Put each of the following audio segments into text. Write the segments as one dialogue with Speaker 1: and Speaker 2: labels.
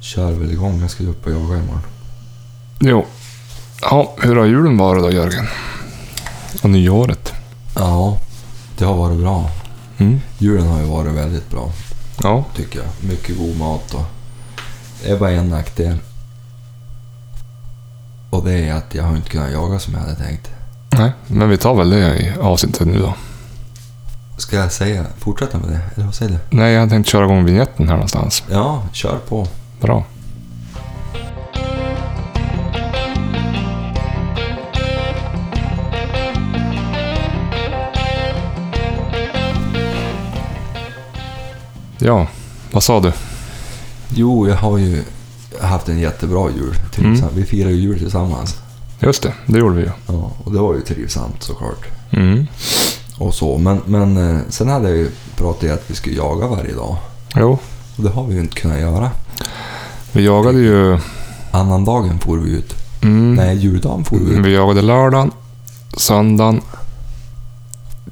Speaker 1: kör väl igång. Jag ska ju upp och jaga imorgon.
Speaker 2: Jo. Ja, hur har julen varit då Jörgen? Och nyåret?
Speaker 1: Ja, det har varit bra.
Speaker 2: Mm.
Speaker 1: Julen har ju varit väldigt bra,
Speaker 2: Ja.
Speaker 1: tycker jag. Mycket god mat och... Det är bara en nackdel. Och det är att jag har inte kunnat jaga som jag hade tänkt.
Speaker 2: Nej, men vi tar väl det i avsnittet nu då.
Speaker 1: Ska jag säga, fortsätta med det? Eller vad säger du?
Speaker 2: Nej, jag tänkte köra igång vignetten här någonstans.
Speaker 1: Ja, kör på.
Speaker 2: Bra. Ja, vad sa du?
Speaker 1: Jo, jag har ju haft en jättebra jul. Trivsam. Vi firade ju jul tillsammans.
Speaker 2: Just det, det gjorde vi ju.
Speaker 1: Mm. Ja, och det var ju trivsamt såklart.
Speaker 2: Mm.
Speaker 1: Och så. Men, men eh, sen hade jag ju pratat i att vi skulle jaga varje dag.
Speaker 2: Jo,
Speaker 1: Och det har vi ju inte kunnat göra.
Speaker 2: vi jagade ju...
Speaker 1: Annandagen for vi ut.
Speaker 2: Mm,
Speaker 1: Nej, juldagen for vi ut.
Speaker 2: Vi jagade lördagen, söndagen,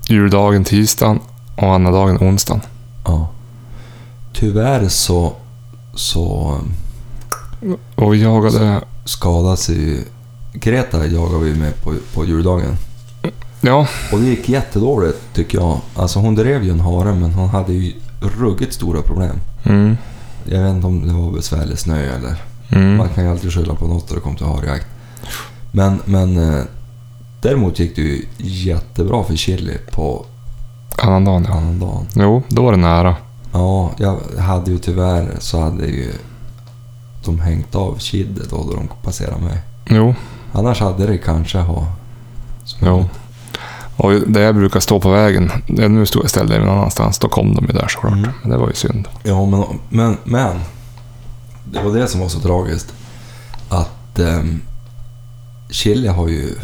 Speaker 2: juldagen, tisdagen och annandagen, onsdagen.
Speaker 1: Ja. Tyvärr så, så eh,
Speaker 2: Och vi jagade...
Speaker 1: skadas ju... Greta jagade vi med på, på juldagen.
Speaker 2: Ja,
Speaker 1: Och det gick jättedåligt tycker jag. Alltså hon drev ju en hare men hon hade ju ruggigt stora problem.
Speaker 2: mm,
Speaker 1: Jag vet inte om det var besvärlig snö eller...
Speaker 2: mm,
Speaker 1: Man kan ju alltid skylla på något när det kommer till harjakt. Men, men eh, däremot gick det ju jättebra för chili på
Speaker 2: annandagen ja.
Speaker 1: annandagen.
Speaker 2: Jo, då var det nära.
Speaker 1: Ja, jag hade ju tyvärr så hade ju de hängt av kiddet då, då de passerade mig.
Speaker 2: Jo,
Speaker 1: Annars hade det kanske ha... som-
Speaker 2: jo. Och där jag brukar stå på vägen, ja, nu stod jag ställde någon annanstans, då kom de ju där såklart.
Speaker 1: Mm.
Speaker 2: Men det var ju synd.
Speaker 1: Ja, men, men, men. Det var det som var så tragiskt. Att ehm, chili har ju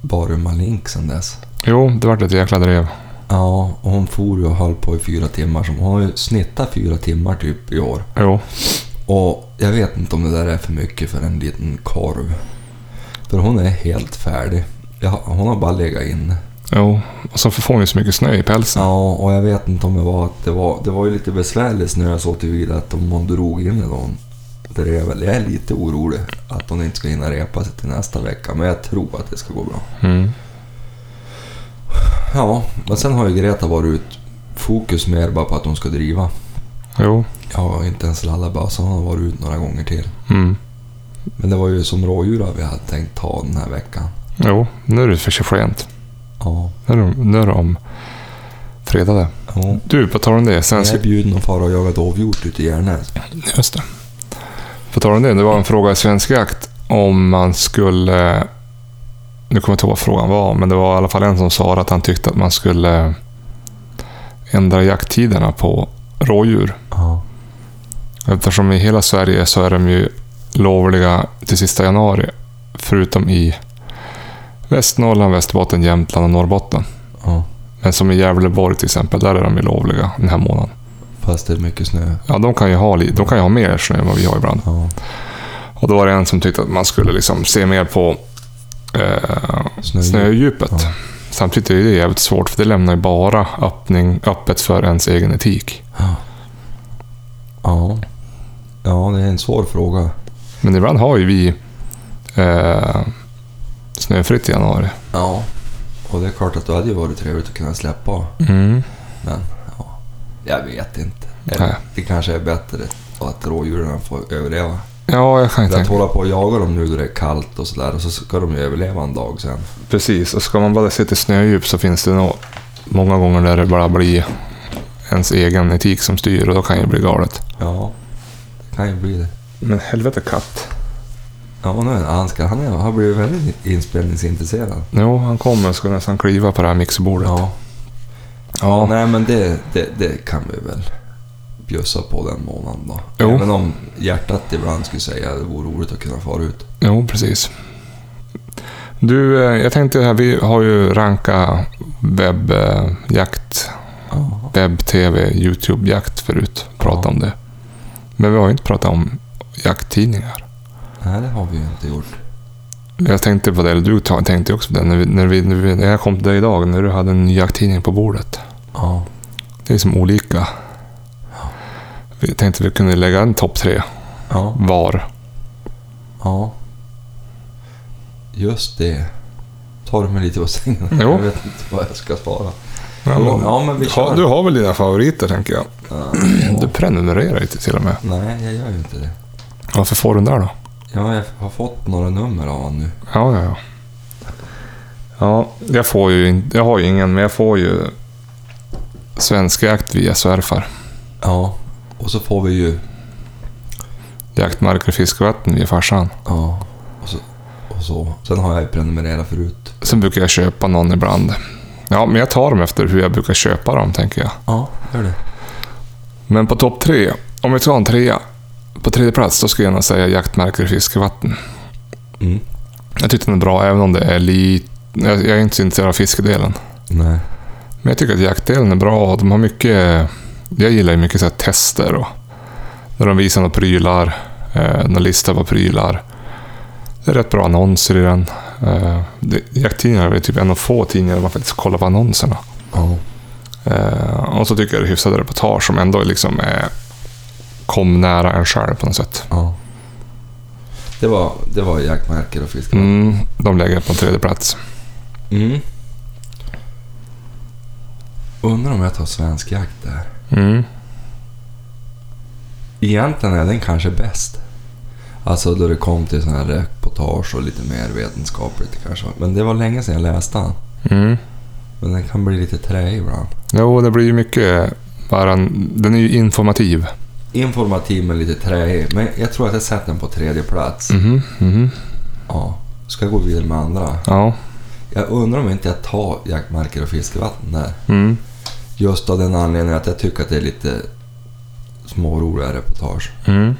Speaker 1: varit malink sedan dess.
Speaker 2: Jo, det vart ett jäkla drev.
Speaker 1: Ja, och hon for ju och höll på i fyra timmar. Som, hon har ju snittat fyra timmar typ i år.
Speaker 2: Jo,
Speaker 1: Och jag vet inte om det där är för mycket för en liten korv. För hon är helt färdig. Jag, hon har bara legat inne.
Speaker 2: jo. Och så får hon ju så mycket snö i pälsen.
Speaker 1: Ja, och jag vet inte om det var att det var... Det var ju lite besvärligt snö så tillvida att om hon drog in i någon drev. eller Jag är lite orolig att hon inte ska hinna repa sig till nästa vecka. Men jag tror att det ska gå bra.
Speaker 2: Mm.
Speaker 1: Ja, och sen har ju Greta varit ut fokus mer bara på att hon ska driva.
Speaker 2: Jo,
Speaker 1: Jag har inte ens lallat så han har varit ut några gånger till.
Speaker 2: mm.
Speaker 1: Men det var ju som rådjur vi hade tänkt ta den här veckan.
Speaker 2: jo. nu är det för sent.
Speaker 1: Ja.
Speaker 2: Nu är det, nu är det om fredag det.
Speaker 1: ja.
Speaker 2: Du, på tal om det. Sen
Speaker 1: Jag
Speaker 2: ska,
Speaker 1: är bjuden att fara och jaga dovhjort ute i Järnäs.
Speaker 2: just det. På tal om det, det var en fråga i Svensk Jakt om man skulle... Nu kommer jag inte ihåg vad frågan var, men det var i alla fall en som sa att han tyckte att man skulle ändra jakttiderna på rådjur.
Speaker 1: Ja.
Speaker 2: Eftersom i hela Sverige så är de ju lovliga till sista januari. Förutom i Västernorrland, Västerbotten, Jämtland och Norrbotten.
Speaker 1: ja.
Speaker 2: Men som i Gävleborg till exempel, där är de ju lovliga den här månaden.
Speaker 1: Fast det är mycket snö.
Speaker 2: Ja, de kan ju ha, li- de kan ju ha mer snö än vad vi har ibland.
Speaker 1: Ja.
Speaker 2: Och då var det en som tyckte att man skulle liksom se mer på eh,
Speaker 1: Snö.
Speaker 2: snödjupet.
Speaker 1: Ja.
Speaker 2: Samtidigt är det jävligt svårt, för det lämnar ju bara öppning, öppet för ens egen etik.
Speaker 1: Ja. ja. Ja, det är en svår fråga.
Speaker 2: Men ibland har ju vi eh, snöfritt i januari.
Speaker 1: Ja. Och det är klart att det hade ju varit trevligt att kunna släppa.
Speaker 2: Mm.
Speaker 1: Men ja, jag vet inte.
Speaker 2: Nej.
Speaker 1: Det kanske är bättre att rådjuren får överleva.
Speaker 2: Ja, jag kan ju
Speaker 1: För att
Speaker 2: tänka
Speaker 1: hålla på och jaga dem nu då det är kallt och sådär och så ska de ju överleva en dag sen.
Speaker 2: Precis, och ska man bara se till snödjup så finns det nog många gånger där det bara blir ens egen etik som styr och då kan det bli galet.
Speaker 1: Ja, det kan ju bli det.
Speaker 2: Men helvete katt.
Speaker 1: Ja, och nu är det han, ska, han är, har blivit väldigt inspelningsintresserad.
Speaker 2: Jo, han kommer och ska nästan kliva på det här mixerbordet.
Speaker 1: Ja. ja,
Speaker 2: ja.
Speaker 1: nej men det, det, det kan vi väl bjussa på den månaden då.
Speaker 2: Jo.
Speaker 1: Även om hjärtat ibland skulle säga att det vore roligt att kunna fara ut.
Speaker 2: Jo, precis. Du, eh, jag tänkte här, vi har ju ranka webb, eh, jakt,
Speaker 1: Ja.
Speaker 2: webb, tv, YouTube-jakt förut. Pratat
Speaker 1: Ja.
Speaker 2: om det. Men vi har ju inte pratat om jakttidningar.
Speaker 1: Nej, det har vi ju inte gjort.
Speaker 2: Jag tänkte på det, eller du ta- tänkte ju också på det, när, vi, när, vi, när, vi, när jag kom till dig idag, när du hade en ny jakttidning på bordet. liksom
Speaker 1: Ja.
Speaker 2: Det är som olika. Vi tänkte vi kunde lägga en topp tre
Speaker 1: Ja,
Speaker 2: var.
Speaker 1: ja. Just det. Tar du mig lite på sängen?
Speaker 2: Jo.
Speaker 1: Jag vet inte vad jag ska svara.
Speaker 2: Ja,
Speaker 1: Jo,
Speaker 2: men,
Speaker 1: ja, men vi
Speaker 2: ha,
Speaker 1: kör.
Speaker 2: du har väl dina favoriter tänker jag.
Speaker 1: Ja.
Speaker 2: Du prenumererar ju till och med.
Speaker 1: Nej, jag gör ju inte det.
Speaker 2: Varför får du den där då?
Speaker 1: Ja, jag har fått några nummer av honom nu.
Speaker 2: Ja, ja, ja. Ja, jag får ju in- Jag har ju ingen, men jag får ju svenskjakt via svärfar.
Speaker 1: Ja, och så får vi ju...
Speaker 2: Jaktmarker och fiskevatten via farsan.
Speaker 1: Ja, och så. Och så. Sen har jag ju prenumererat förut.
Speaker 2: Sen brukar jag köpa någon ibland. Ja, men jag tar dem efter hur jag brukar köpa dem, tänker jag.
Speaker 1: Ja, gör det.
Speaker 2: Men på topp tre, om vi tar en trea. På tredje plats, då skulle jag nog säga jaktmarker och fiskevatten.
Speaker 1: Mm.
Speaker 2: Jag tyckte den är bra, även om det är lite... Jag, jag är inte så intresserad av fiskedelen.
Speaker 1: Nej.
Speaker 2: Men jag tycker att jaktdelen är bra och de har mycket... Jag gillar ju mycket så här tester och... När de visar några prylar, eh, några listor på prylar. Det är rätt bra annonser i den. Eh, det- Jakttidningar är väl typ en av få tidningar där man faktiskt kollar på annonserna.
Speaker 1: Ja.
Speaker 2: Eh, och så tycker jag det är hyfsade reportage som ändå liksom är, kom nära en själv på något sätt.
Speaker 1: ja. Det var, det var jaktmärker och fiskar.
Speaker 2: Mm, de lägger jag på en tredje plats.
Speaker 1: Mm. Undrar om jag tar svensk jakt där.
Speaker 2: Mm.
Speaker 1: Egentligen är den kanske bäst. Alltså då det kom till sådana här reportage och lite mer vetenskapligt kanske. Men det var länge sedan jag läste den.
Speaker 2: Mm.
Speaker 1: Men den kan bli lite träig ibland.
Speaker 2: Jo, det blir ju mycket... Bara en, den är ju informativ.
Speaker 1: Informativ men lite träig. Men jag tror att jag sätter den på tredje plats.
Speaker 2: Mhm, mhm.
Speaker 1: Ja. Ska jag gå vidare med andra?
Speaker 2: Ja.
Speaker 1: Jag undrar om inte jag tar jaktmarker och fiskevatten där.
Speaker 2: Mm.
Speaker 1: Just av den anledningen att jag tycker att det är lite småroliga reportage.
Speaker 2: Mm.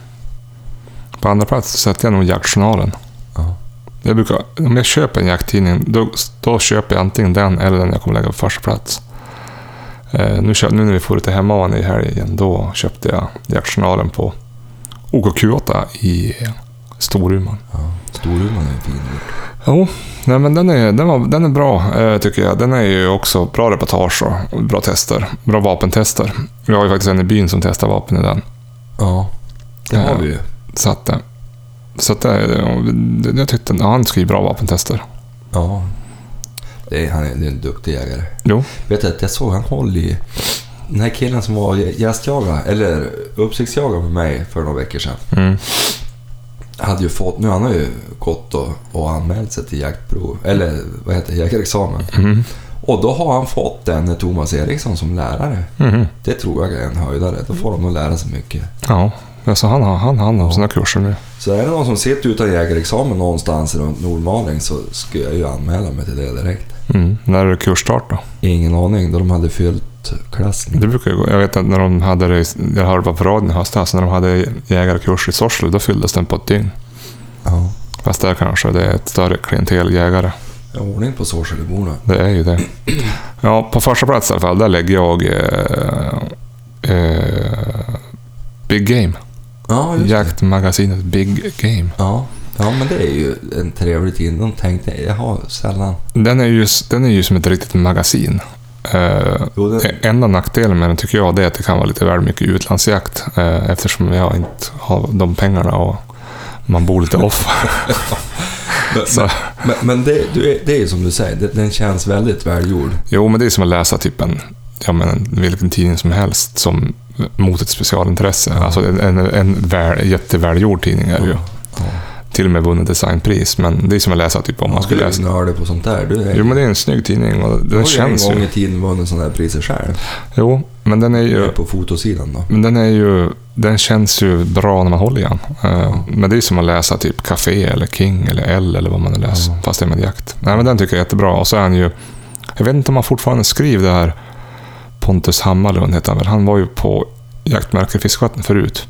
Speaker 2: På andra plats sätter jag nog jaktjournalen.
Speaker 1: Ja.
Speaker 2: Jag brukar, om jag köper en jakttidning, då, då köper jag antingen den eller den jag kommer lägga på första plats. Eh, nu, kö- nu när vi får lite hemma i helgen, då köpte jag jaktjournalen på OKQ8 i Storuman.
Speaker 1: Ja. Storuman är en fin ort.
Speaker 2: Jo, nej, men den, är, den, var, den är bra eh, tycker jag. Den är ju också bra reportage och bra tester. Bra vapentester. Vi har ju faktiskt en i byn som testar vapen i den.
Speaker 1: Ja. Det har vi ju.
Speaker 2: Så att, eh, så att det, det- jag tyckte ja, han skriver bra vapentester.
Speaker 1: Ja. Det är, han är, det är en duktig jägare.
Speaker 2: Jo.
Speaker 1: Vet du att jag såg han håll i... Den här killen som var gästjagare, eller uppsiktsjagare med mig för några veckor sedan.
Speaker 2: Mm.
Speaker 1: Hade ju fått, nu han har ju gått och, och anmält sig till jaktprov, eller vad heter det, jägarexamen.
Speaker 2: Mhm.
Speaker 1: Och då har han fått den eh, Thomas Eriksson som lärare.
Speaker 2: Mhm.
Speaker 1: Det tror jag är en höjdare. Då får de nog lära sig mycket.
Speaker 2: Ja, alltså han har han, han har sina kurser nu.
Speaker 1: Så är det någon som sitter utan jägarexamen någonstans runt Nordmaling så skulle jag ju anmäla mig till det direkt.
Speaker 2: Mm. När är det kursstart då?
Speaker 1: Ingen aning, då de hade fyllt klassen.
Speaker 2: Det brukar ju gå. Jag vet att när de hade det, i- jag hörde bara på radion i höstas, när de hade jägarkurs i Sorsele, då fylldes den på ett dygn.
Speaker 1: Ja.
Speaker 2: Fast där kanske det är ett större klientel jägare.
Speaker 1: Jag har ordning på Sorseleborna.
Speaker 2: Det är ju det. Ja, på första plats i alla fall, där lägger jag eh, eh, Big Game.
Speaker 1: Ja, just det.
Speaker 2: Jaktmagasinet Big Game.
Speaker 1: Ja. ja, men det är ju en trevlig tid. De tänkte, jag har sällan...
Speaker 2: Den är ju, den är ju som ett riktigt magasin. Eh,
Speaker 1: Jo, det,
Speaker 2: enda nackdelen med den tycker jag det är att det kan vara lite väl mycket utlandsjakt eh, eftersom jag inte har de pengarna och man bor lite off. Så,
Speaker 1: men men det, du är, det är ju som du säger, det, den känns väldigt välgjord.
Speaker 2: jo, men det är som att läsa typ en, ja, men, vilken tidning som helst som, mot ett specialintresse. Alltså en, en, en väl, jättevälgjord tidning är det ju.
Speaker 1: Ja.
Speaker 2: Till och med vunnit designpris, men det är som att läsa typ om man skulle
Speaker 1: du är
Speaker 2: läsa.
Speaker 1: ju nördig på sånt där. Du är,
Speaker 2: Jo, men det är en snygg tidning och
Speaker 1: du
Speaker 2: den
Speaker 1: har ju en
Speaker 2: känns
Speaker 1: gång
Speaker 2: ju.
Speaker 1: i tiden vunnit sådana här priser själv.
Speaker 2: Jo, men den är ju...
Speaker 1: På fotosidan då.
Speaker 2: Men den är ju... Den känns ju bra när man håller i den. Eh, Men det är som att läsa typ Café eller King eller L eller vad man nu läser. Fast det är med jakt. Nej, men den tycker jag är jättebra. Och så är han ju... Jag vet inte om han fortfarande skriver det här. Pontus Hammarlund heter han väl. Han var ju på Jaktmärker Fiskvatten förut.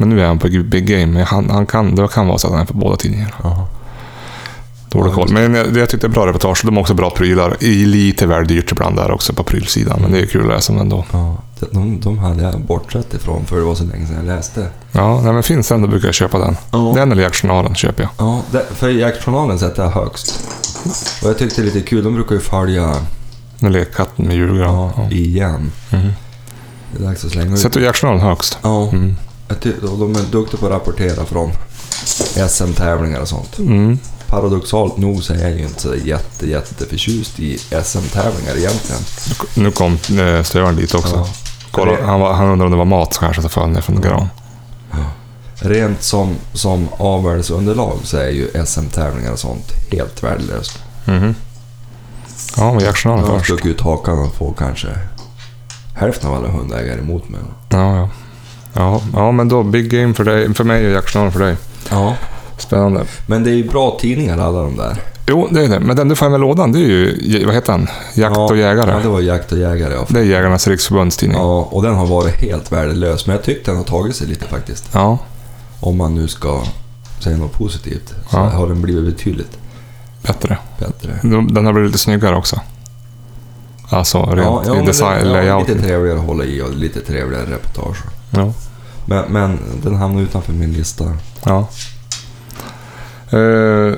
Speaker 2: Men nu är han på Big Game. Men Han, han kan, det kan vara så att han är på båda tidningarna. Dålig koll. Men jag- det jag tyckte är bra reportage. De har också bra prylar. I lite väl dyrt ibland där också på prylsidan. Men det är kul att läsa om ändå.
Speaker 1: Ja, de- de, de hade jag bortsett ifrån för det var så länge sedan jag läste.
Speaker 2: Ja, nej, men finns den då brukar jag köpa den.
Speaker 1: Ja.
Speaker 2: Den eller jaktjournalen köper jag.
Speaker 1: Ja, det, för jaktjournalen sätter jag högst. Och jag tyckte det är lite kul, de brukar ju följa
Speaker 2: Nu leker katten med julgran.
Speaker 1: ja, Mm-hmm.
Speaker 2: Ja.
Speaker 1: igen.
Speaker 2: Mhm.
Speaker 1: Det är dags att slänga ut.
Speaker 2: Sätter du jaktjournalen högst?
Speaker 1: Ja,
Speaker 2: Mm.
Speaker 1: Jag ty- och de är duktiga på att rapportera från SM-tävlingar och sånt.
Speaker 2: Mm.
Speaker 1: Paradoxalt nog så är jag ju inte så jätte, jätteförtjust i SM-tävlingar egentligen.
Speaker 2: Nu kom eh, stövaren dit också.
Speaker 1: Ja.
Speaker 2: Kolla, han, var, han undrade om det var mat så kanske så föll ner från gran.
Speaker 1: Rent som, som avvärjelseunderlag så är ju SM-tävlingar och sånt helt värdelöst.
Speaker 2: Mhm. Ja, men
Speaker 1: Jag
Speaker 2: jaktjournalen
Speaker 1: har
Speaker 2: först.
Speaker 1: stuckit ut hakan och får kanske hälften av alla hundägare emot mig.
Speaker 2: Ja, ja. Ja, ja, men då big game för dig. För mig och jaktjournalen för dig.
Speaker 1: Ja.
Speaker 2: Spännande.
Speaker 1: Men det är ju bra tidningar alla de där.
Speaker 2: Jo, det är det. Men den du får hem i lådan, det är ju, vad heter han? Jakt och jägare. Mm.
Speaker 1: Ja, det var Jakt och jägare. Ja.
Speaker 2: Det är Jägarnas Riksförbunds tidning. Ja.
Speaker 1: ja, och den har varit helt värdelös. Men jag tyckte den har tagit sig lite faktiskt. Om man nu ska säga något positivt så
Speaker 2: Ja.
Speaker 1: har den blivit betydligt
Speaker 2: bättre.
Speaker 1: bättre.
Speaker 2: De- Den har blivit lite snyggare också. Alltså rent
Speaker 1: ja,
Speaker 2: i
Speaker 1: men
Speaker 2: design,
Speaker 1: den- ja,
Speaker 2: layout.
Speaker 1: lite trevligare att hålla i och lite trevligare reportage.
Speaker 2: Ja.
Speaker 1: Men, men den hamnar utanför min lista.
Speaker 2: ja. Eh,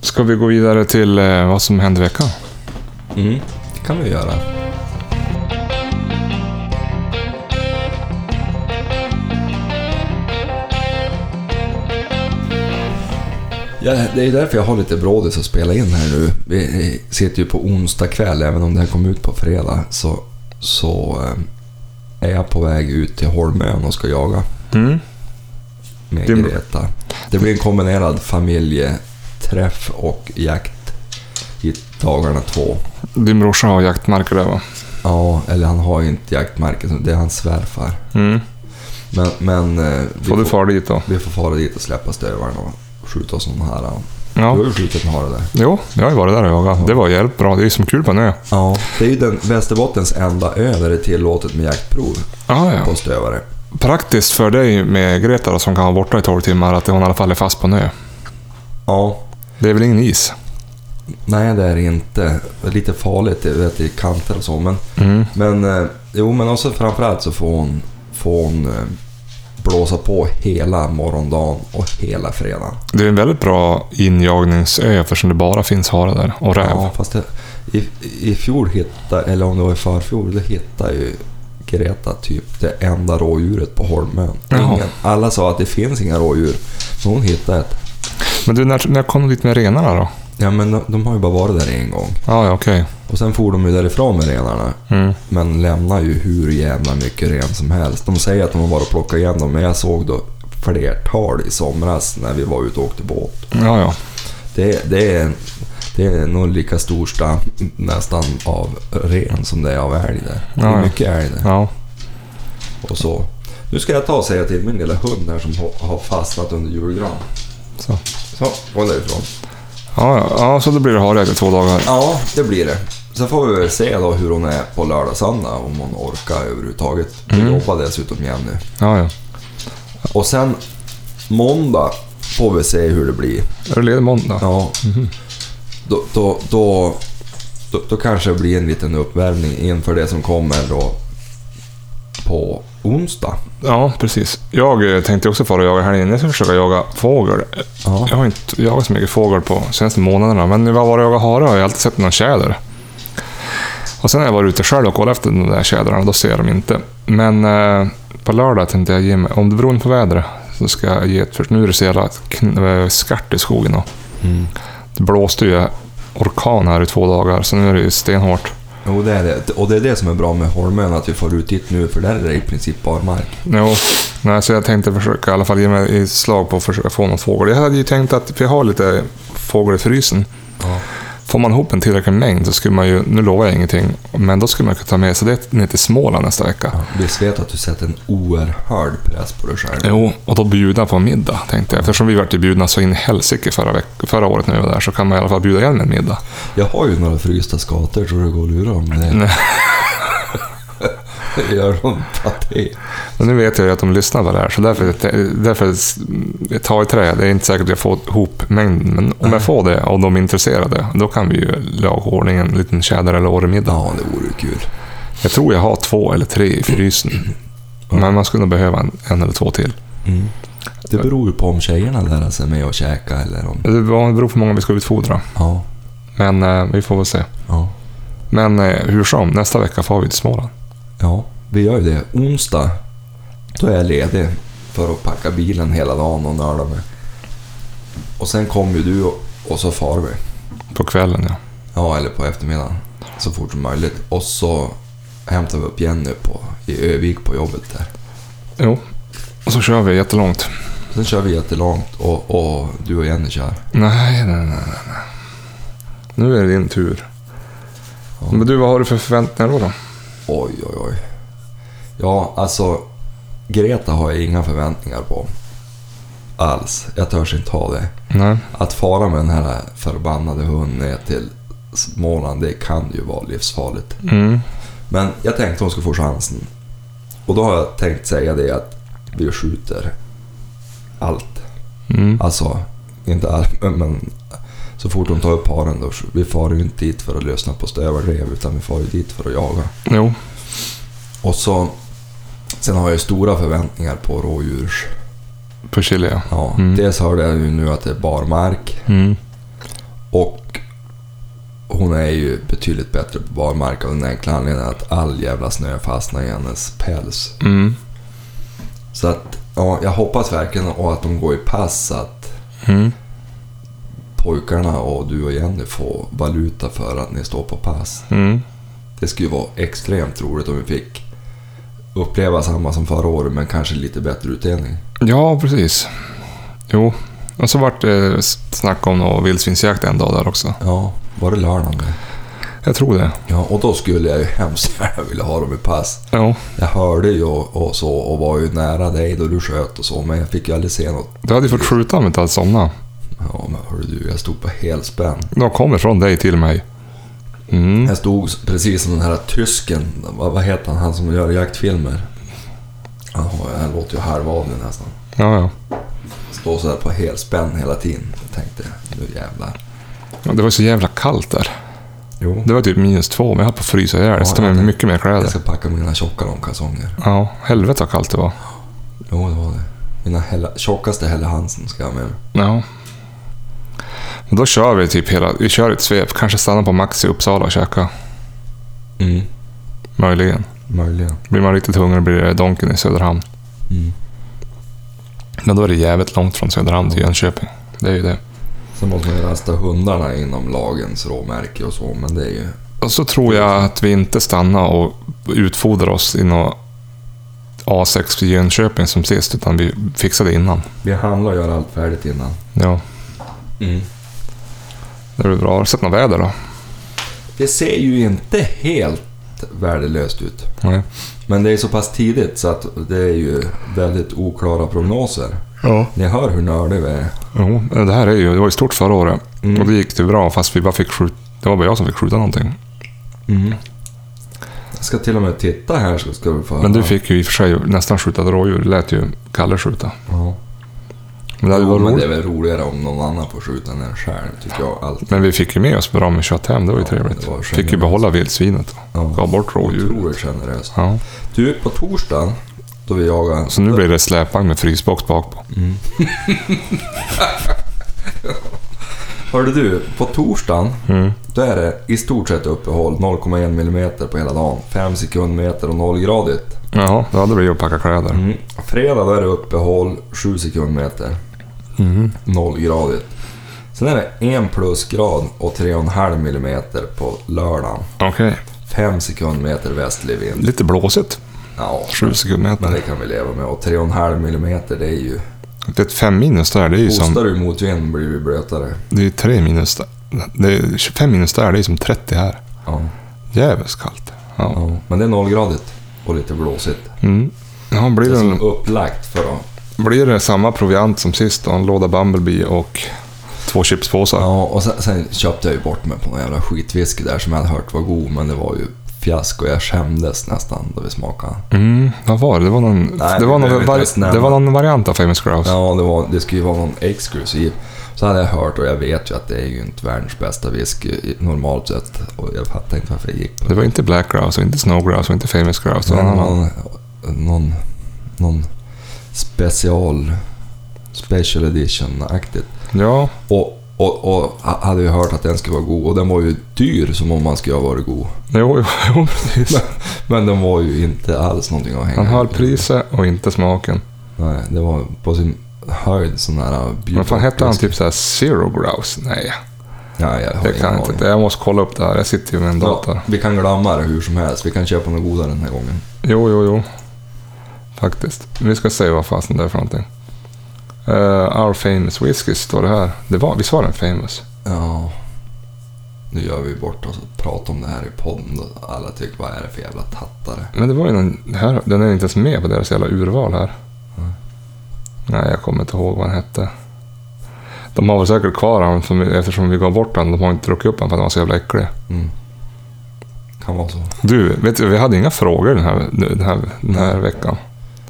Speaker 2: ska vi gå vidare till eh, vad som hände i veckan?
Speaker 1: Mm, det kan vi göra. Ja, det är därför jag har lite brådis att spela in här nu. Vi sitter ju på onsdag kväll, även om det här kom ut på fredag. Så, så eh, är jag på väg ut till Holmön och ska jaga
Speaker 2: Mm.
Speaker 1: med
Speaker 2: Det-
Speaker 1: Greta. Det blir en kombinerad familjeträff och jakt i dagarna två.
Speaker 2: Din brorsa har jaktmarker där va?
Speaker 1: Ja, eller han har ju inte jaktmarker, så det är hans svärfar.
Speaker 2: Mm.
Speaker 1: Men, men eh, vi,
Speaker 2: Får du far dit då?
Speaker 1: vi får fara dit och släppa stövaren och skjuta sån här. ja. Du
Speaker 2: Ja.
Speaker 1: har ju skjutit en hare där.
Speaker 2: Jo, jag har ju varit där och jagat. Det var jävligt bra. Det är ju som kul på en ö.
Speaker 1: Ja. Det är ju den Västerbottens enda ö där det är tillåtet med jaktprov
Speaker 2: Ah, ja.
Speaker 1: på stövare.
Speaker 2: Praktiskt för dig med Greta då, som kan vara borta i 12 timmar att hon i alla fall är fast på en ö.
Speaker 1: Ja.
Speaker 2: Det är väl ingen is?
Speaker 1: Nej, det är det inte. Det är lite farligt jag vet, i kanter och så. Men,
Speaker 2: Mm.
Speaker 1: men, eh, jo, men också framförallt så får hon, får hon eh, blåsa på hela morgondagen och hela fredagen.
Speaker 2: Det är en väldigt bra injagningsö eftersom det bara finns hare där och räv.
Speaker 1: Ja, fast det, i, i fjol hittade, eller om det var i förfjol, då hittade ju Greta typ det enda rådjuret på Holmön.
Speaker 2: Jaha.
Speaker 1: Ingen, alla sa att det finns inga rådjur, men hon hittade ett.
Speaker 2: Men du, när, när kom du dit med renarna då?
Speaker 1: Ja, men de, de har ju bara varit där en gång.
Speaker 2: Ah, ja, okej.
Speaker 1: Och sen for de ju därifrån med renarna,
Speaker 2: Mm.
Speaker 1: men lämnar ju hur jävla mycket ren som helst. De säger att de har varit och plockat igen dem, men jag såg då flertal i somras när vi var ute och åkte båt.
Speaker 2: Ja, ja.
Speaker 1: Det, det, är, det är nog lika stor stam nästan av ren som det är av älg där. Det
Speaker 2: Ja,
Speaker 1: är
Speaker 2: ja.
Speaker 1: mycket älg där.
Speaker 2: ja.
Speaker 1: och så. Nu ska jag ta och säga till min lilla hund här som har- har fastnat under julgran.
Speaker 2: Så.
Speaker 1: Så, gå därifrån.
Speaker 2: Ja, ja. ja, så då blir det harjakt i två dagar.
Speaker 1: Ja, det blir det. Sen får vi väl se då hur hon är på lördag söndag, om hon orkar överhuvudtaget. Vi
Speaker 2: Mm.
Speaker 1: jobbar dessutom igen nu.
Speaker 2: Ja, ja.
Speaker 1: Och sen måndag får vi se hur det blir.
Speaker 2: Är du ledig måndag?
Speaker 1: Ja. Då, då, då, då, då kanske det blir en liten uppvärmning inför det som kommer då på onsdag.
Speaker 2: Ja, precis. Jag eh, tänkte också fara och jaga här inne. Jag ska försöka jaga fågel.
Speaker 1: Ja.
Speaker 2: Jag har inte jagat så mycket fågel på de senaste månaderna, men när jag var och jagat hare har jag alltid sett någon tjäder. Och sen när jag var ute själv och kollade efter de där tjädrarna, då ser jag dem inte. Men eh, på lördag tänkte jag ge mig, om det beror på vädret, så ska jag ge ett försök. Nu är det så jävla kn- eh, skarpt i skogen. Och det blåste ju orkan här i två dagar, så nu är det ju stenhårt.
Speaker 1: Jo, det är det. Och det är det som är bra med Holmön, att vi får ut dit nu, för där är det i princip barmark.
Speaker 2: Jo, nej, så jag tänkte försöka i alla fall ge mig ett slag på att försöka få någon fågel. Jag hade ju tänkt att, för jag har lite fågel i frysen,
Speaker 1: Ja.
Speaker 2: Får man ihop en tillräcklig mängd så skulle man ju, nu lovar jag ingenting, men då skulle man kunna ta med sig det ner till Småland nästa vecka.
Speaker 1: Visst vet att du sätter en oerhörd press på dig själv?
Speaker 2: Jo, och då bjuda på en middag, tänkte jag. Eftersom vi vart bjudna så in i helsike förra, veck- förra året när vi var där, så kan man i alla fall bjuda igen med en middag.
Speaker 1: Jag har ju några frysta skator, tror du det går att lura dem med det?
Speaker 2: Nej.
Speaker 1: Jag Gör dem paté?
Speaker 2: Men nu vet jag ju att de lyssnar på det här, så därför, därför jag tar i trä. Det är inte säkert att jag får ihop mängden, men om jag får det och de är intresserade, då kan vi ju laga i ordning en liten tjäder eller åremiddag.
Speaker 1: Ja, det vore ju kul.
Speaker 2: Jag tror jag har två eller tre i frysen, men man skulle nog behöva en, en eller två till.
Speaker 1: Mm. Det beror ju på om tjejerna lär sig med att käka eller om...
Speaker 2: Det beror på hur många vi ska utfodra.
Speaker 1: Ja.
Speaker 2: Men eh, vi får väl se.
Speaker 1: Ja.
Speaker 2: Men eh, hur som, nästa vecka får vi till Småland.
Speaker 1: Ja, vi gör ju det. Onsdag, då är jag ledig. för att packa bilen hela dagen och nörda med. Och sen kom ju du och, och så far vi.
Speaker 2: På kvällen ja.
Speaker 1: Ja, eller på eftermiddagen. Så fort som möjligt. Och så hämtade vi upp Jenny på, i Övik på jobbet där.
Speaker 2: Jo. Och så kör vi jättelångt.
Speaker 1: Sen kör vi jättelångt och, och du och Jenny kör.
Speaker 2: Nej, nej, nej, nej. nej. Nu är det din tur.
Speaker 1: Ja.
Speaker 2: Men du, vad har du för förväntningar då? då?
Speaker 1: Oj, oj, oj. Ja, alltså. Greta har jag inga förväntningar på. Alls. Jag törs inte ha det.
Speaker 2: Nej.
Speaker 1: Att fara med den här förbannade hunden ner till Småland, det kan ju vara livsfarligt.
Speaker 2: Mm.
Speaker 1: Men jag tänkte hon skulle få chansen. Och då har jag tänkt säga det att vi skjuter allt.
Speaker 2: Mm.
Speaker 1: Alltså, inte allt, men- men så fort hon tar upp haren då. Vi far ju inte dit för att lyssna på stövarrev, utan vi far ju dit för att jaga.
Speaker 2: Jo.
Speaker 1: Och så... Sen har jag ju stora förväntningar på rådjurs...
Speaker 2: På Chile ja.
Speaker 1: Ja,
Speaker 2: Mm.
Speaker 1: Dels hörde jag ju nu att det är barmark
Speaker 2: Mm.
Speaker 1: och hon är ju betydligt bättre på barmark av den enkla anledningen att all jävla snö fastnar i hennes päls.
Speaker 2: Mm.
Speaker 1: Så att, ja, jag hoppas verkligen och att de går i pass så att
Speaker 2: Mm.
Speaker 1: pojkarna och du och Jenny får valuta för att ni står på pass.
Speaker 2: Mm.
Speaker 1: Det skulle ju vara extremt roligt om vi fick uppleva samma som förra året men kanske lite bättre utdelning.
Speaker 2: Ja, precis. Jo. Och så vart det snack om någon vildsvinsjakt en dag där också.
Speaker 1: Ja, var det lördagen? det?
Speaker 2: Jag tror det.
Speaker 1: Ja, och då skulle jag ju hemskt gärna vilja ha dem i pass.
Speaker 2: Ja.
Speaker 1: Jag hörde ju och, och så och var ju nära dig då du sköt och så, men jag fick ju aldrig se något.
Speaker 2: Du hade ju fått skjuta om jag inte hade somnat.
Speaker 1: Ja, men hörde du, jag stod på helspänn.
Speaker 2: De kommer från dig till mig. Mm.
Speaker 1: Jag stod s- precis som den här tysken, vad, vad heter han, han som gör jaktfilmer? Jaha, jag låter ju halvadlig nästan.
Speaker 2: Ja, ja.
Speaker 1: Stå sådär på helspänn hela tiden. Jag tänkte, nu jävlar.
Speaker 2: Ja, Det var så jävla kallt där.
Speaker 1: Jo.
Speaker 2: Det var typ minus två, men jag höll på att frysa ihjäl. Jag ska ta med mig mycket mer
Speaker 1: Jag
Speaker 2: kläder.
Speaker 1: ska packa mina tjocka långkalsonger.
Speaker 2: Ja, helvete vad kallt det var.
Speaker 1: Jo, det var det. Mina hella, tjockaste Helle Hansen ska jag ha med mig.
Speaker 2: Ja. Men då kör vi typ hela... Vi kör ett svep. Kanske stannar på Max i Uppsala och käka.
Speaker 1: Mm,
Speaker 2: Möjligen.
Speaker 1: möjligen.
Speaker 2: Blir man riktigt hungrig blir det Donken i Söderhamn.
Speaker 1: Mm.
Speaker 2: Men då är det jävligt långt från Söderhamn till Jönköping. Det är ju det.
Speaker 1: Sen måste man ju rasta hundarna inom lagens råmärke och så, men det är ju...
Speaker 2: Och så tror jag att vi inte stannar och utfodrar oss i något A6 i Jönköping som sist, utan vi fixar det innan.
Speaker 1: Vi handlar och gör allt färdigt innan.
Speaker 2: Ja, det blir bra. Har du sett något väder då?
Speaker 1: Det ser ju inte helt värdelöst ut.
Speaker 2: Nej.
Speaker 1: Men det är så pass tidigt så att det är ju väldigt oklara prognoser.
Speaker 2: Ja.
Speaker 1: Ni hör hur nördig vi är.
Speaker 2: Jo, det här är ju... Det var ju stort förra året.
Speaker 1: Mm.
Speaker 2: Och det gick det bra, fast vi bara fick skjuta... Det var bara jag som fick skjuta någonting.
Speaker 1: Jag ska till och med titta här så ska vi få höra.
Speaker 2: Men du fick ju i och för sig nästan skjuta ett rådjur. Det lät ju Kalle skjuta.
Speaker 1: Ja.
Speaker 2: Men det hade
Speaker 1: Jo,
Speaker 2: varit
Speaker 1: men det
Speaker 2: roligt.
Speaker 1: är väl roligare om någon annan får skjuta än en själv, tycker jag. Allt.
Speaker 2: Men vi fick ju med oss bra med kött hem. Det var ju
Speaker 1: Ja,
Speaker 2: trevligt.
Speaker 1: det var
Speaker 2: fick ju
Speaker 1: generöst.
Speaker 2: behålla vildsvinet.
Speaker 1: Ja.
Speaker 2: Gav bort rådjuret.
Speaker 1: Otroligt generöst.
Speaker 2: Ja.
Speaker 1: Du, på torsdagen, då vi jagar...
Speaker 2: Så nu blir det släpvagn med frysbox bak på.
Speaker 1: Hörde du, på torsdagen
Speaker 2: Mm.
Speaker 1: Då är det i stort sett uppehåll, 0,1 mm på hela dagen, 5 sekundmeter och 0-gradigt.
Speaker 2: Jaha, då hade vi att packa kläder.
Speaker 1: Mm. Fredag då är det uppehåll, 7 sekundmeter,
Speaker 2: Mm.
Speaker 1: 0-gradigt. Sen är det 1 plusgrad och 3,5 mm på lördagen,
Speaker 2: Okej.
Speaker 1: 5 sekundmeter västlig vind.
Speaker 2: Lite blåsigt.
Speaker 1: Ja,
Speaker 2: Sju sekundmeter.
Speaker 1: men det kan vi leva med. Och 3,5 mm det är ju...
Speaker 2: Det är ett fem minus där. Det är ju som...
Speaker 1: Hostar du mot vind blir vi blötare.
Speaker 2: Det är ju tre minus där. Det är 25 minus där. Det är som 30 här.
Speaker 1: Ja,
Speaker 2: Jävligt kallt. Ja.
Speaker 1: ja. Men det är 0-gradigt och lite blåsigt.
Speaker 2: Mm. Ja, blir,
Speaker 1: Det är som
Speaker 2: det,
Speaker 1: upplagt för att
Speaker 2: blir det samma proviant som sist då? En låda Bumblebee och två chipspåsar?
Speaker 1: Ja, och sen, sen köpte jag ju bort mig på någon jävla skitwhisky där som jag hade hört var god, men det var ju fiasko. Jag skämdes nästan då vi smakade.
Speaker 2: Mm, vad var det? Det var någon,
Speaker 1: Nej,
Speaker 2: det var
Speaker 1: vi
Speaker 2: någon,
Speaker 1: behöver inte ens
Speaker 2: var,
Speaker 1: nämna.
Speaker 2: det var någon variant av Famous Grouse.
Speaker 1: Ja, det, var, det skulle ju vara någon exklusiv. Så hade jag hört och jag vet ju att det är ju inte världens bästa whisky i- normalt sett. Och jag fattar inte varför jag gick på
Speaker 2: Det
Speaker 1: det.
Speaker 2: var inte Black Grouse, och inte Snow Grouse och inte Famous Grouse. Det var
Speaker 1: Men
Speaker 2: någon annan.
Speaker 1: någon, någon, någon special, special edition-aktigt.
Speaker 2: Ja,
Speaker 1: Och, och, och ha- hade ju hört att den skulle vara god och den var ju dyr som om man skulle ha varit god.
Speaker 2: jo, jo, jo precis.
Speaker 1: Men den var ju inte alls någonting att hänga
Speaker 2: Han höll
Speaker 1: upp i.
Speaker 2: priset och inte smaken.
Speaker 1: Nej, det var på sin höjd sån här... uh,
Speaker 2: Vad fan hette han? Typ såhär Zero Grouse? Nej,
Speaker 1: Nej, jag har
Speaker 2: det
Speaker 1: ingen
Speaker 2: kan jag
Speaker 1: aning.
Speaker 2: inte. Jag måste kolla upp det här. Jag sitter ju med en dator.
Speaker 1: Ja, vi kan glömma det hur som helst. Vi kan köpa något godare den här gången.
Speaker 2: Jo, jo, jo. Faktiskt. Vi ska se vad fasen det är för någonting. Eh, Our famous whisky står det här. Det var, visst var den famous?
Speaker 1: Ja. Nu gör vi bort oss och pratar om det här i podden. och Alla tycker vad är det för jävla tattare?
Speaker 2: Men det var ju någon, det här, den är inte ens med på deras jävla urval här. Nej, jag kommer inte ihåg vad den hette. De har väl säkert kvar den som- eftersom vi gav bort den. De har inte druckit upp den för att den var så jävla äcklig.
Speaker 1: Mm. Kan vara så.
Speaker 2: Du, vet du, vi hade inga frågor den här, den här, den här veckan.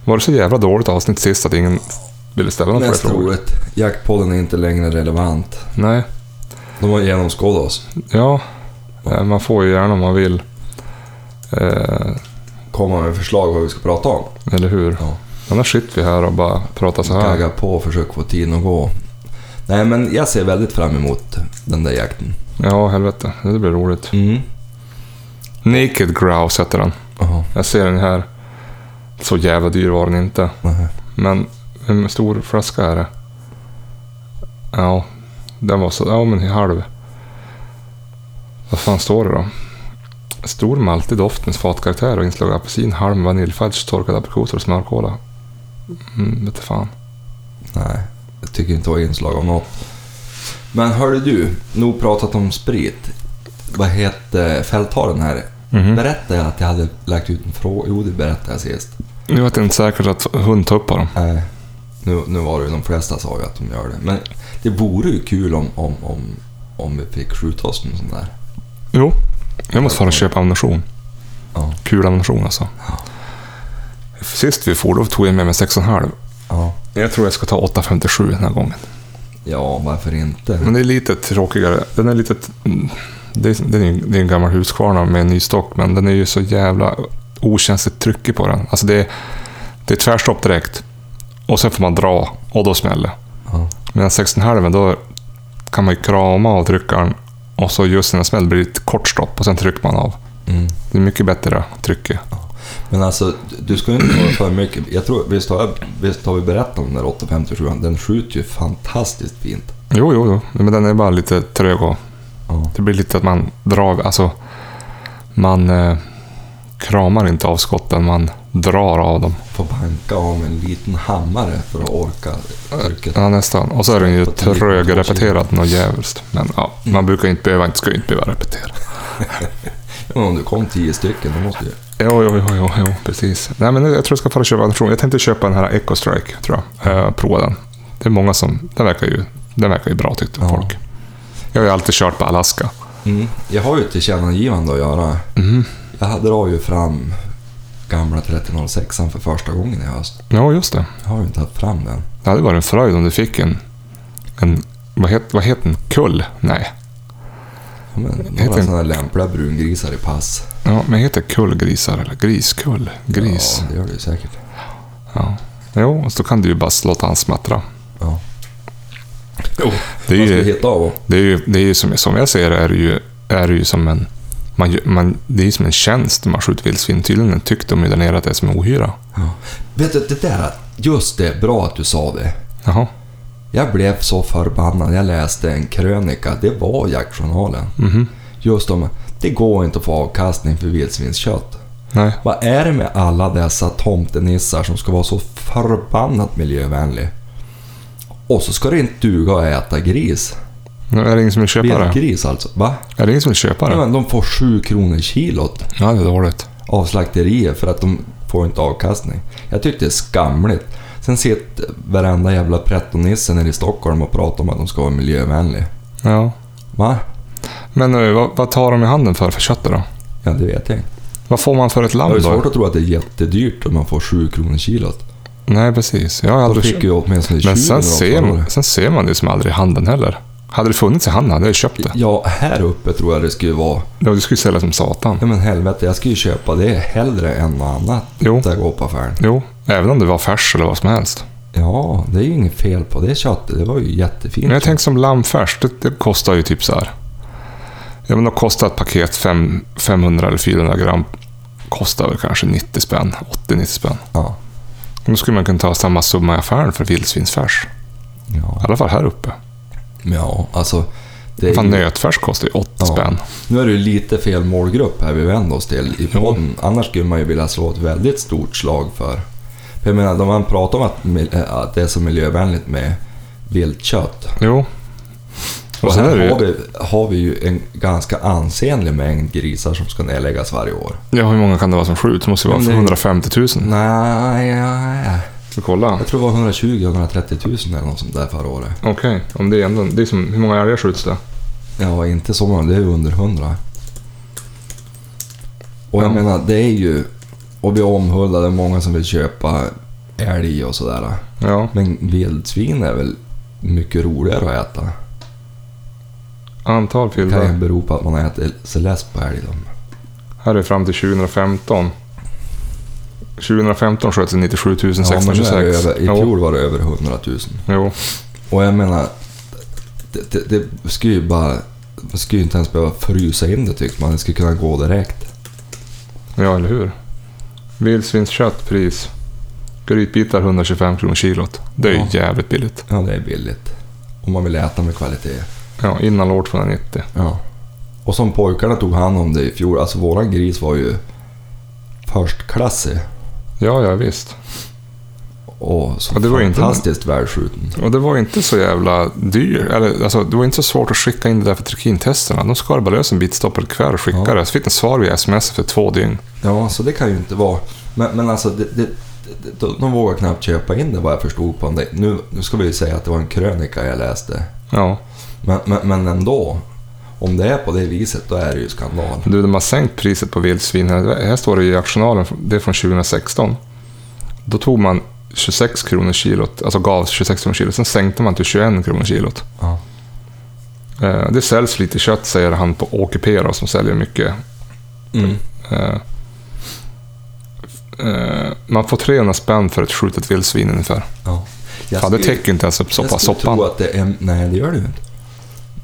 Speaker 2: Var det så jävla dåligt avsnitt sist att ingen ville ställa några
Speaker 1: Mest
Speaker 2: frågor?
Speaker 1: roligt. Jaktpodden är inte längre relevant.
Speaker 2: Nej.
Speaker 1: De har genomskådat oss.
Speaker 2: Ja, eh, man får ju gärna om man vill. Eh,
Speaker 1: Komma med förslag vad vi ska prata om.
Speaker 2: eller hur?
Speaker 1: Ja.
Speaker 2: Annars sitter vi här och bara pratar så här.
Speaker 1: Gagga på och försök få tiden att gå. Nej, men jag ser väldigt fram emot den där jakten.
Speaker 2: Ja, helvete. Det blir roligt.
Speaker 1: Mm.
Speaker 2: Naked Grouse heter den.
Speaker 1: Jaha.
Speaker 2: Jag ser den här. Så jävla dyr var den inte.
Speaker 1: nähä.
Speaker 2: Men hur stor flaska är det? Ja, den var så... Ja, men i halv. Vad fan står det då? Stor maltig doft med fatkaraktär och inslag av apelsin, halm, vaniljfudge, torkade aprikoser och smörkola. Mm, vete fan.
Speaker 1: Nej, jag tycker inte det var inslag av något. Men hörde du, nog pratat om sprit. Vad heter fältharen här?
Speaker 2: Mhm.
Speaker 1: Berättade jag att jag hade lagt ut en fråga? Jo, det berättade jag sist.
Speaker 2: Nu var det inte säkert att hund tar upp på dem.
Speaker 1: Nej, nu, nu var det ju de flesta sa ju att de gör det. Men det vore ju kul om, om, om, om vi fick skjuta oss med sån där.
Speaker 2: Jo, jag måste fara och köpa ammunition.
Speaker 1: Ja.
Speaker 2: Kulammunition alltså.
Speaker 1: Ja.
Speaker 2: Sist vi for, då tog jag med mig 6,5.
Speaker 1: Ja,
Speaker 2: Jag tror jag ska ta 8,57 den här gången.
Speaker 1: ja varför inte?
Speaker 2: Men det är lite tråkigare. Den är lite... mm, Det är, det är, ju- det är en gammal huskvarna med en ny stock, men den är ju så jävla okänsligt tryckig på den. Alltså det är, det är tvärstopp direkt. Och sen får man dra och då smäller det.
Speaker 1: Ja.
Speaker 2: Medan 16,5 då kan man ju krama av tryckaren och så just när den smäller blir det ett kort stopp och sen trycker man av.
Speaker 1: Mm.
Speaker 2: Det är mycket bättre tryck ju.
Speaker 1: Men alltså, du- du ska ju inte vara för mycket. Jag tror, visst har, jag, visst har vi berättat om den där 857 Den skjuter ju fantastiskt fint.
Speaker 2: Jo, jo, jo. Men den är bara lite trög och
Speaker 1: Ja.
Speaker 2: det blir lite att man drar, alltså man eh, kramar inte av skotten, man drar av dem.
Speaker 1: Får banka av med en liten hammare för att orka trycket.
Speaker 2: Ja, nästan. Och så är den ju trögrepeterad något djävulskt. Men ja, man brukar ju inte behöva, inte ska ju inte behöva repetera.
Speaker 1: Men om du kom tio stycken, då måste du
Speaker 2: Jo, jo, jo, jo, jo precis. Nej, men jag tror jag ska fara och köpa en version. Jag tänkte köpa den här Echo Strike, tror jag. Eh, prova den. Det är många som... Den verkar ju, den verkar ju bra, tyckte
Speaker 1: Ja.
Speaker 2: folk. Jag har ju alltid kört på Alaska.
Speaker 1: mm. Jag har ju ett tillkännagivande att göra.
Speaker 2: Mm.
Speaker 1: Jag drar ju fram gamla 3006 för första gången i höst.
Speaker 2: Ja, just det.
Speaker 1: Jag har ju inte haft fram den.
Speaker 2: Det hade varit en fröjd om du fick en... en vad, het, vad heter den? Kull? Nej.
Speaker 1: Ja, Men
Speaker 2: Heter
Speaker 1: några
Speaker 2: den-
Speaker 1: sådana där lämpliga brungrisar i pass.
Speaker 2: Ja, men heter kullgrisar eller griskull? Gris.
Speaker 1: Ja, det gör det ju säkert.
Speaker 2: Ja. Jo, och så kan du ju bara låta han smattra.
Speaker 1: Ja.
Speaker 2: Det är
Speaker 1: Vad ska
Speaker 2: ju...
Speaker 1: vi heta av
Speaker 2: Det är ju, det är ju som, som jag ser det, är det ju, är det ju som en... Man, gör- man, det är ju som en tjänst när man skjuter vildsvin. Tydligen tyckte de ju där nere att det är som en ohyra.
Speaker 1: Ja. Vet du, det där, just det, bra att du sa det.
Speaker 2: Jaha.
Speaker 1: Jag blev så förbannad. Jag läste en krönika, det var jaktjournalen.
Speaker 2: Mhm.
Speaker 1: Just om, det går inte att få avkastning för vildsvinskött.
Speaker 2: Nej.
Speaker 1: Vad är det med alla dessa tomtenissar som ska vara så förbannat miljövänlig? Och så ska det inte duga att äta gris.
Speaker 2: Nu Är det ingen som vill köpa det?
Speaker 1: Viltgris alltså. Va?
Speaker 2: Är det ingen som vill köpa
Speaker 1: Ja,
Speaker 2: det?
Speaker 1: men de får 7 kronor kilot
Speaker 2: Ja, det är dåligt.
Speaker 1: av slakterier för att de får inte avkastning. Jag tyckte det är skamligt. Sen sitter varenda jävla prettonisse nere i Stockholm och pratar om att de ska vara miljövänlig.
Speaker 2: Ja.
Speaker 1: Va?
Speaker 2: Men nu, vad, vad tar de i handen för, för köttet då?
Speaker 1: Ja, det vet jag inte.
Speaker 2: Vad får man för ett
Speaker 1: Det är
Speaker 2: lamm då?
Speaker 1: svårt att tro att det är jättedyrt om man får 7 kronor kilot.
Speaker 2: Nej, precis. Jag har
Speaker 1: De
Speaker 2: aldrig
Speaker 1: fick ju åtminstone 20
Speaker 2: Men
Speaker 1: när
Speaker 2: sen
Speaker 1: de
Speaker 2: ser,
Speaker 1: förlorade.
Speaker 2: man, sen ser man det som aldrig i handen heller. Hade det funnits i handen hade jag köpt det.
Speaker 1: Ja, här uppe tror jag det skulle vara...
Speaker 2: Ja, Det skulle ju sälja som satan.
Speaker 1: Nej men helvete, jag skulle ju köpa det hellre än något annat
Speaker 2: Jo.
Speaker 1: där jag går på affären.
Speaker 2: Jo, även om det var färs eller vad som helst.
Speaker 1: Ja, det är ju inget fel på det köttet. Det var ju jättefint.
Speaker 2: Men jag tänker som lammfärs, det, det kostar ju typ så här. Ja, men de kostar ett paket fem, 500 eller 400 gram. Kostar väl kanske 90 spänn, 80-90 spänn.
Speaker 1: Ja.
Speaker 2: Då skulle man kunna ta samma summa i affären för vildsvinsfärs. I
Speaker 1: Ja,
Speaker 2: alla fall här uppe.
Speaker 1: ja alltså. Det är
Speaker 2: Fan,
Speaker 1: ju,
Speaker 2: nötfärs kostar ju 80
Speaker 1: Ja.
Speaker 2: spänn.
Speaker 1: nu är det ju lite fel målgrupp här vi vänder oss till i podden. Annars skulle man ju vilja slå ett väldigt stort slag för. för jag menar, de man pratar om att, mil- att det är så miljövänligt med viltkött.
Speaker 2: Jo.
Speaker 1: Och
Speaker 2: Och sen är det
Speaker 1: här har
Speaker 2: ju,
Speaker 1: vi, har vi ju en ganska ansenlig mängd grisar som ska nedläggas varje år.
Speaker 2: ja, hur många kan det vara som skjuts? Det måste ju vara
Speaker 1: Men det-
Speaker 2: 150 000.
Speaker 1: Nej, nej.
Speaker 2: Ska kolla.
Speaker 1: jag tror det var 120-130 000 eller något sånt där förra året.
Speaker 2: Okej, om det är ändå... Det är som, hur många älgar skjuts det?
Speaker 1: Ja, inte så många. Det är under 100. Och jag
Speaker 2: Ja.
Speaker 1: menar, det är ju... Och vi omhuldar, det är många som vill köpa älg och sådär.
Speaker 2: Ja.
Speaker 1: Men vildsvin är väl mycket roligare att äta.
Speaker 2: Antal
Speaker 1: Det
Speaker 2: fyllda.
Speaker 1: kan ju bero på att man äter sig less på älg. då.
Speaker 2: Här är fram till 2015. 2015 sköts det 97 626.
Speaker 1: nu är det över, I
Speaker 2: Jo,
Speaker 1: fjol var det över 100 000.
Speaker 2: Jo.
Speaker 1: Och jag menar, det, det, det skulle ju bara... Man skulle ju inte ens behöva frysa in det tycker man. Det skulle kunna gå direkt.
Speaker 2: Ja, eller hur? Vildsvinskött, pris. Grytbitar 125 kronor kilot. Det är ju
Speaker 1: Ja.
Speaker 2: jävligt billigt.
Speaker 1: Ja, det är billigt. Om man vill äta med kvalitet.
Speaker 2: Ja, innan lårt 290.
Speaker 1: Ja. Och som pojkarna tog hand om det i fjol. Alltså våran gris var ju förstklassig.
Speaker 2: Ja, ja visst.
Speaker 1: Och så
Speaker 2: Ja, det var ju inte-
Speaker 1: fantastiskt välskjuten.
Speaker 2: Och det var inte så jävla dyr. Eller alltså, det var inte så svårt att skicka in det där för trikintesterna. De skar bara lös en bitstoppad kvar och skickade.
Speaker 1: Ja.
Speaker 2: Så fick de svar via sms för två dygn.
Speaker 1: Ja, så det kan ju inte vara. Men, men alltså, det, det, det, de- de vågar knappt köpa in det vad jag förstod på det. Nu, nu ska vi ju säga att det var en krönika jag läste.
Speaker 2: Ja.
Speaker 1: Men, men, men ändå. Om det är på det viset, då är det ju skandal.
Speaker 2: Du, de har sänkt priset på vildsvin. Här, här står det i jaktjournalen, det är från 2016. Då tog man 26 kronor kilot, alltså gav 26 kronor kilot. Sen sänkte man till 21 kronor kilot.
Speaker 1: Ja.
Speaker 2: Eh, det säljs lite kött, säger han på Åke P då, som säljer mycket.
Speaker 1: Mm.
Speaker 2: Eh, eh, man får 300 spänn för ett skjutet vildsvin ungefär.
Speaker 1: Ja. Jag
Speaker 2: Fan, det
Speaker 1: skulle-
Speaker 2: täcker inte ens upp soppa,
Speaker 1: jag skulle tro
Speaker 2: soppan.
Speaker 1: att det är... Nej, det gör det ju inte.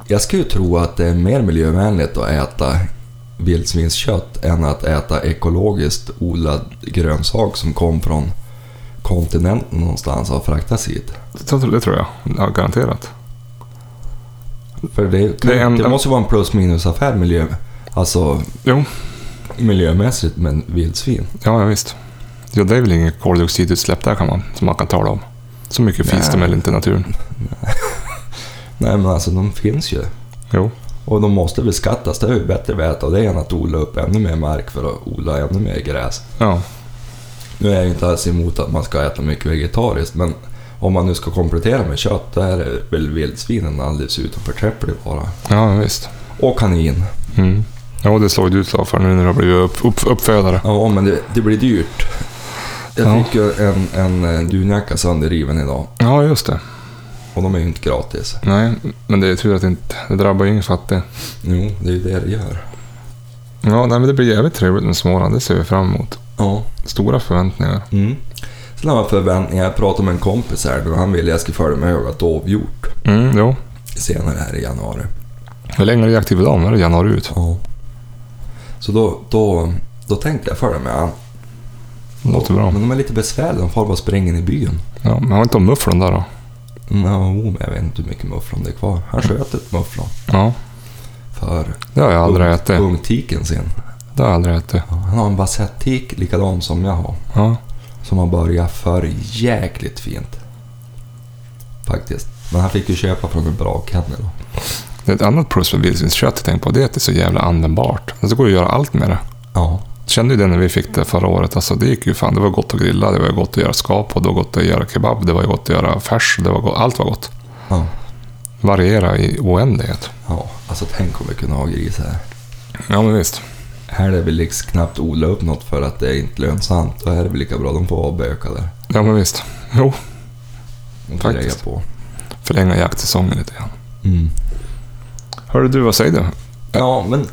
Speaker 1: Jag skulle ju tro att det är mer miljövänligt att äta vildsvinskött än att äta ekologiskt odlad grönsak som kom från kontinenten någonstans och fraktas hit.
Speaker 2: Det, det tror jag, ja, garanterat.
Speaker 1: För det, kan,
Speaker 2: Det
Speaker 1: det,
Speaker 2: är en-
Speaker 1: måste ju vara en plus minus affär miljö, alltså
Speaker 2: Jo,
Speaker 1: miljömässigt men vildsvin.
Speaker 2: ja, ja visst. Ja, det är väl inget koldioxidutsläpp där kan man, som man kan tala om. Så mycket finns det
Speaker 1: Nej.
Speaker 2: väl inte i naturen.
Speaker 1: Nej men alltså de finns ju.
Speaker 2: Jo.
Speaker 1: Och de måste beskattas, det är ju bättre vi äter det än att odla upp ännu mer mark för att odla ännu mer gräs.
Speaker 2: Ja.
Speaker 1: Nu är jag inte alls emot att man ska äta mycket vegetariskt, men om man nu ska komplettera med kött, då är det väl vildsvinen alldeles utom förträfflig vara.
Speaker 2: ja, visst.
Speaker 1: Och kanin.
Speaker 2: Mm. Ja, det slår ju du slag för nu när du har blivit upp, upp, uppfödare.
Speaker 1: Ja, men det, det blir dyrt. Jag
Speaker 2: Ja.
Speaker 1: fick ju en, en eh, dunjacka sönderriven idag
Speaker 2: Ja, just det.
Speaker 1: och de är ju inte gratis.
Speaker 2: Nej, men det är tur att det inte det drabbar ju ingen fattig.
Speaker 1: Jo, det är ju det det gör.
Speaker 2: Ja, nej, men det blir jävligt trevligt med Småland. Det ser vi fram emot.
Speaker 1: Ja.
Speaker 2: Stora förväntningar.
Speaker 1: Mm. Sen har man förväntningar. Jag pratade med en kompis här och han ville jag skulle följa med och jaga dovhjort
Speaker 2: Mm, jo.
Speaker 1: senare här i januari.
Speaker 2: Hur länge är du aktiv idag? Är det januari ut?
Speaker 1: Ja. Så då, då, då tänkte jag följa med han.
Speaker 2: Det låter bra.
Speaker 1: Men de är lite besvärliga, de far bara springen i byn. Mm,
Speaker 2: Ja, men har inte de mufflon där då?
Speaker 1: Ja, o, men jag vet inte hur mycket mufflon det är kvar. Han
Speaker 2: Mm.
Speaker 1: sköt ett mufflon
Speaker 2: Ja,
Speaker 1: för
Speaker 2: det har jag aldrig
Speaker 1: ung-
Speaker 2: ätit.
Speaker 1: ungtiken sin.
Speaker 2: Det har jag aldrig ätit.
Speaker 1: Ja, Han har en basettik likadan som jag har.
Speaker 2: Ja.
Speaker 1: Som har börjat för jäkligt fint. Faktiskt. Men han fick ju köpa från en bra kennel.
Speaker 2: Det är ett annat plus med vildsvinskött jag tänker på. Det är att det är så jävla användbart. Alltså, det går ju att göra allt med det.
Speaker 1: Ja.
Speaker 2: kände ju det när vi fick det förra året. Alltså, det gick ju fan. Det var gott att grilla, det var gott att göra skap och det var gott att göra kebab, det var gott att göra färs, det var gott, allt var gott.
Speaker 1: Ja.
Speaker 2: Variera i oändlighet.
Speaker 1: ja. Alltså tänk om vi kunde ha gris här.
Speaker 2: Ja, men visst.
Speaker 1: Här är vi liksom knappt odla upp något för att det är inte lönsamt. Och här är vi lika bra, de får vara bökade.
Speaker 2: Ja, men visst. Jo,
Speaker 1: De får
Speaker 2: Faktiskt.
Speaker 1: lägga på.
Speaker 2: förlänga jaktsäsongen lite grann.
Speaker 1: Mm.
Speaker 2: Hörru du, vad säger du?
Speaker 1: Ja, men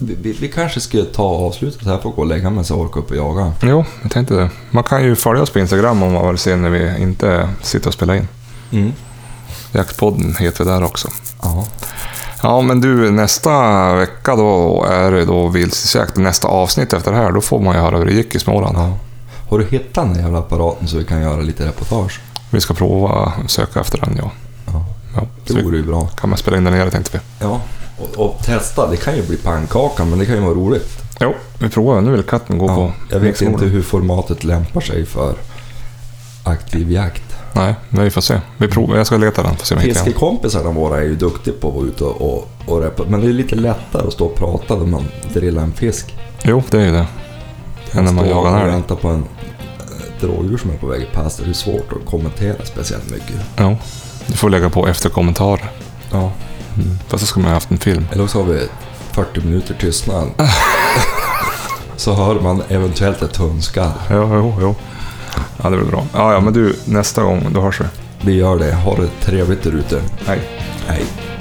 Speaker 1: vi, vi, vi kanske ska ta avslutet här för att gå och lägga mig så jag orkar upp och jaga.
Speaker 2: Jo, jag tänkte det. Man kan ju följa oss på Instagram om man vill se när vi inte sitter och spelar in.
Speaker 1: Mm.
Speaker 2: Jaktpodden heter vi där också.
Speaker 1: Ja.
Speaker 2: Ja, men du, nästa vecka då är det då vildsvinsjakt. Nästa avsnitt efter det här, då får man ju höra hur det gick i Småland.
Speaker 1: ja. Har du hittat den där jävla apparaten så vi kan göra lite reportage?
Speaker 2: Vi ska prova söka efter den, ja.
Speaker 1: Ja.
Speaker 2: ja.
Speaker 1: Det
Speaker 2: Så vi
Speaker 1: vore ju bra.
Speaker 2: kan man spela in den nere tänkte vi.
Speaker 1: Ja. Och, och testa, det kan ju bli pannkaka men det kan ju vara roligt.
Speaker 2: Jo, vi provar. Nu vill katten gå
Speaker 1: Ja,
Speaker 2: på
Speaker 1: jag vet
Speaker 2: lekskolan.
Speaker 1: inte hur formatet lämpar sig för aktiv jakt.
Speaker 2: Nej, men vi får se. Vi provar. Jag ska leta den för att se om jag hittar den.
Speaker 1: Fiskekompisarna våra är ju duktiga på att vara ute och, och, och repa. Men det är lite lättare att stå och prata när man drillar en fisk.
Speaker 2: Jo, det är ju det. Än när man
Speaker 1: Stå
Speaker 2: jagar
Speaker 1: och
Speaker 2: en älg.
Speaker 1: vänta på en, ett rådjur som är på väg att passa. Det är svårt att kommentera speciellt mycket.
Speaker 2: Jo, du får lägga på efterkommentarer.
Speaker 1: Ja. Mm.
Speaker 2: Fast så ska man ha haft en film.
Speaker 1: Eller så har vi 40 minuter tystnad. så hör man eventuellt ett hundskall.
Speaker 2: Jo, jo, jo. Ja, det blir bra. Ja, ja, men du, nästa gång, då hörs vi.
Speaker 1: Vi gör det. Ha det trevligt där ute.
Speaker 2: Hej.
Speaker 1: Hej.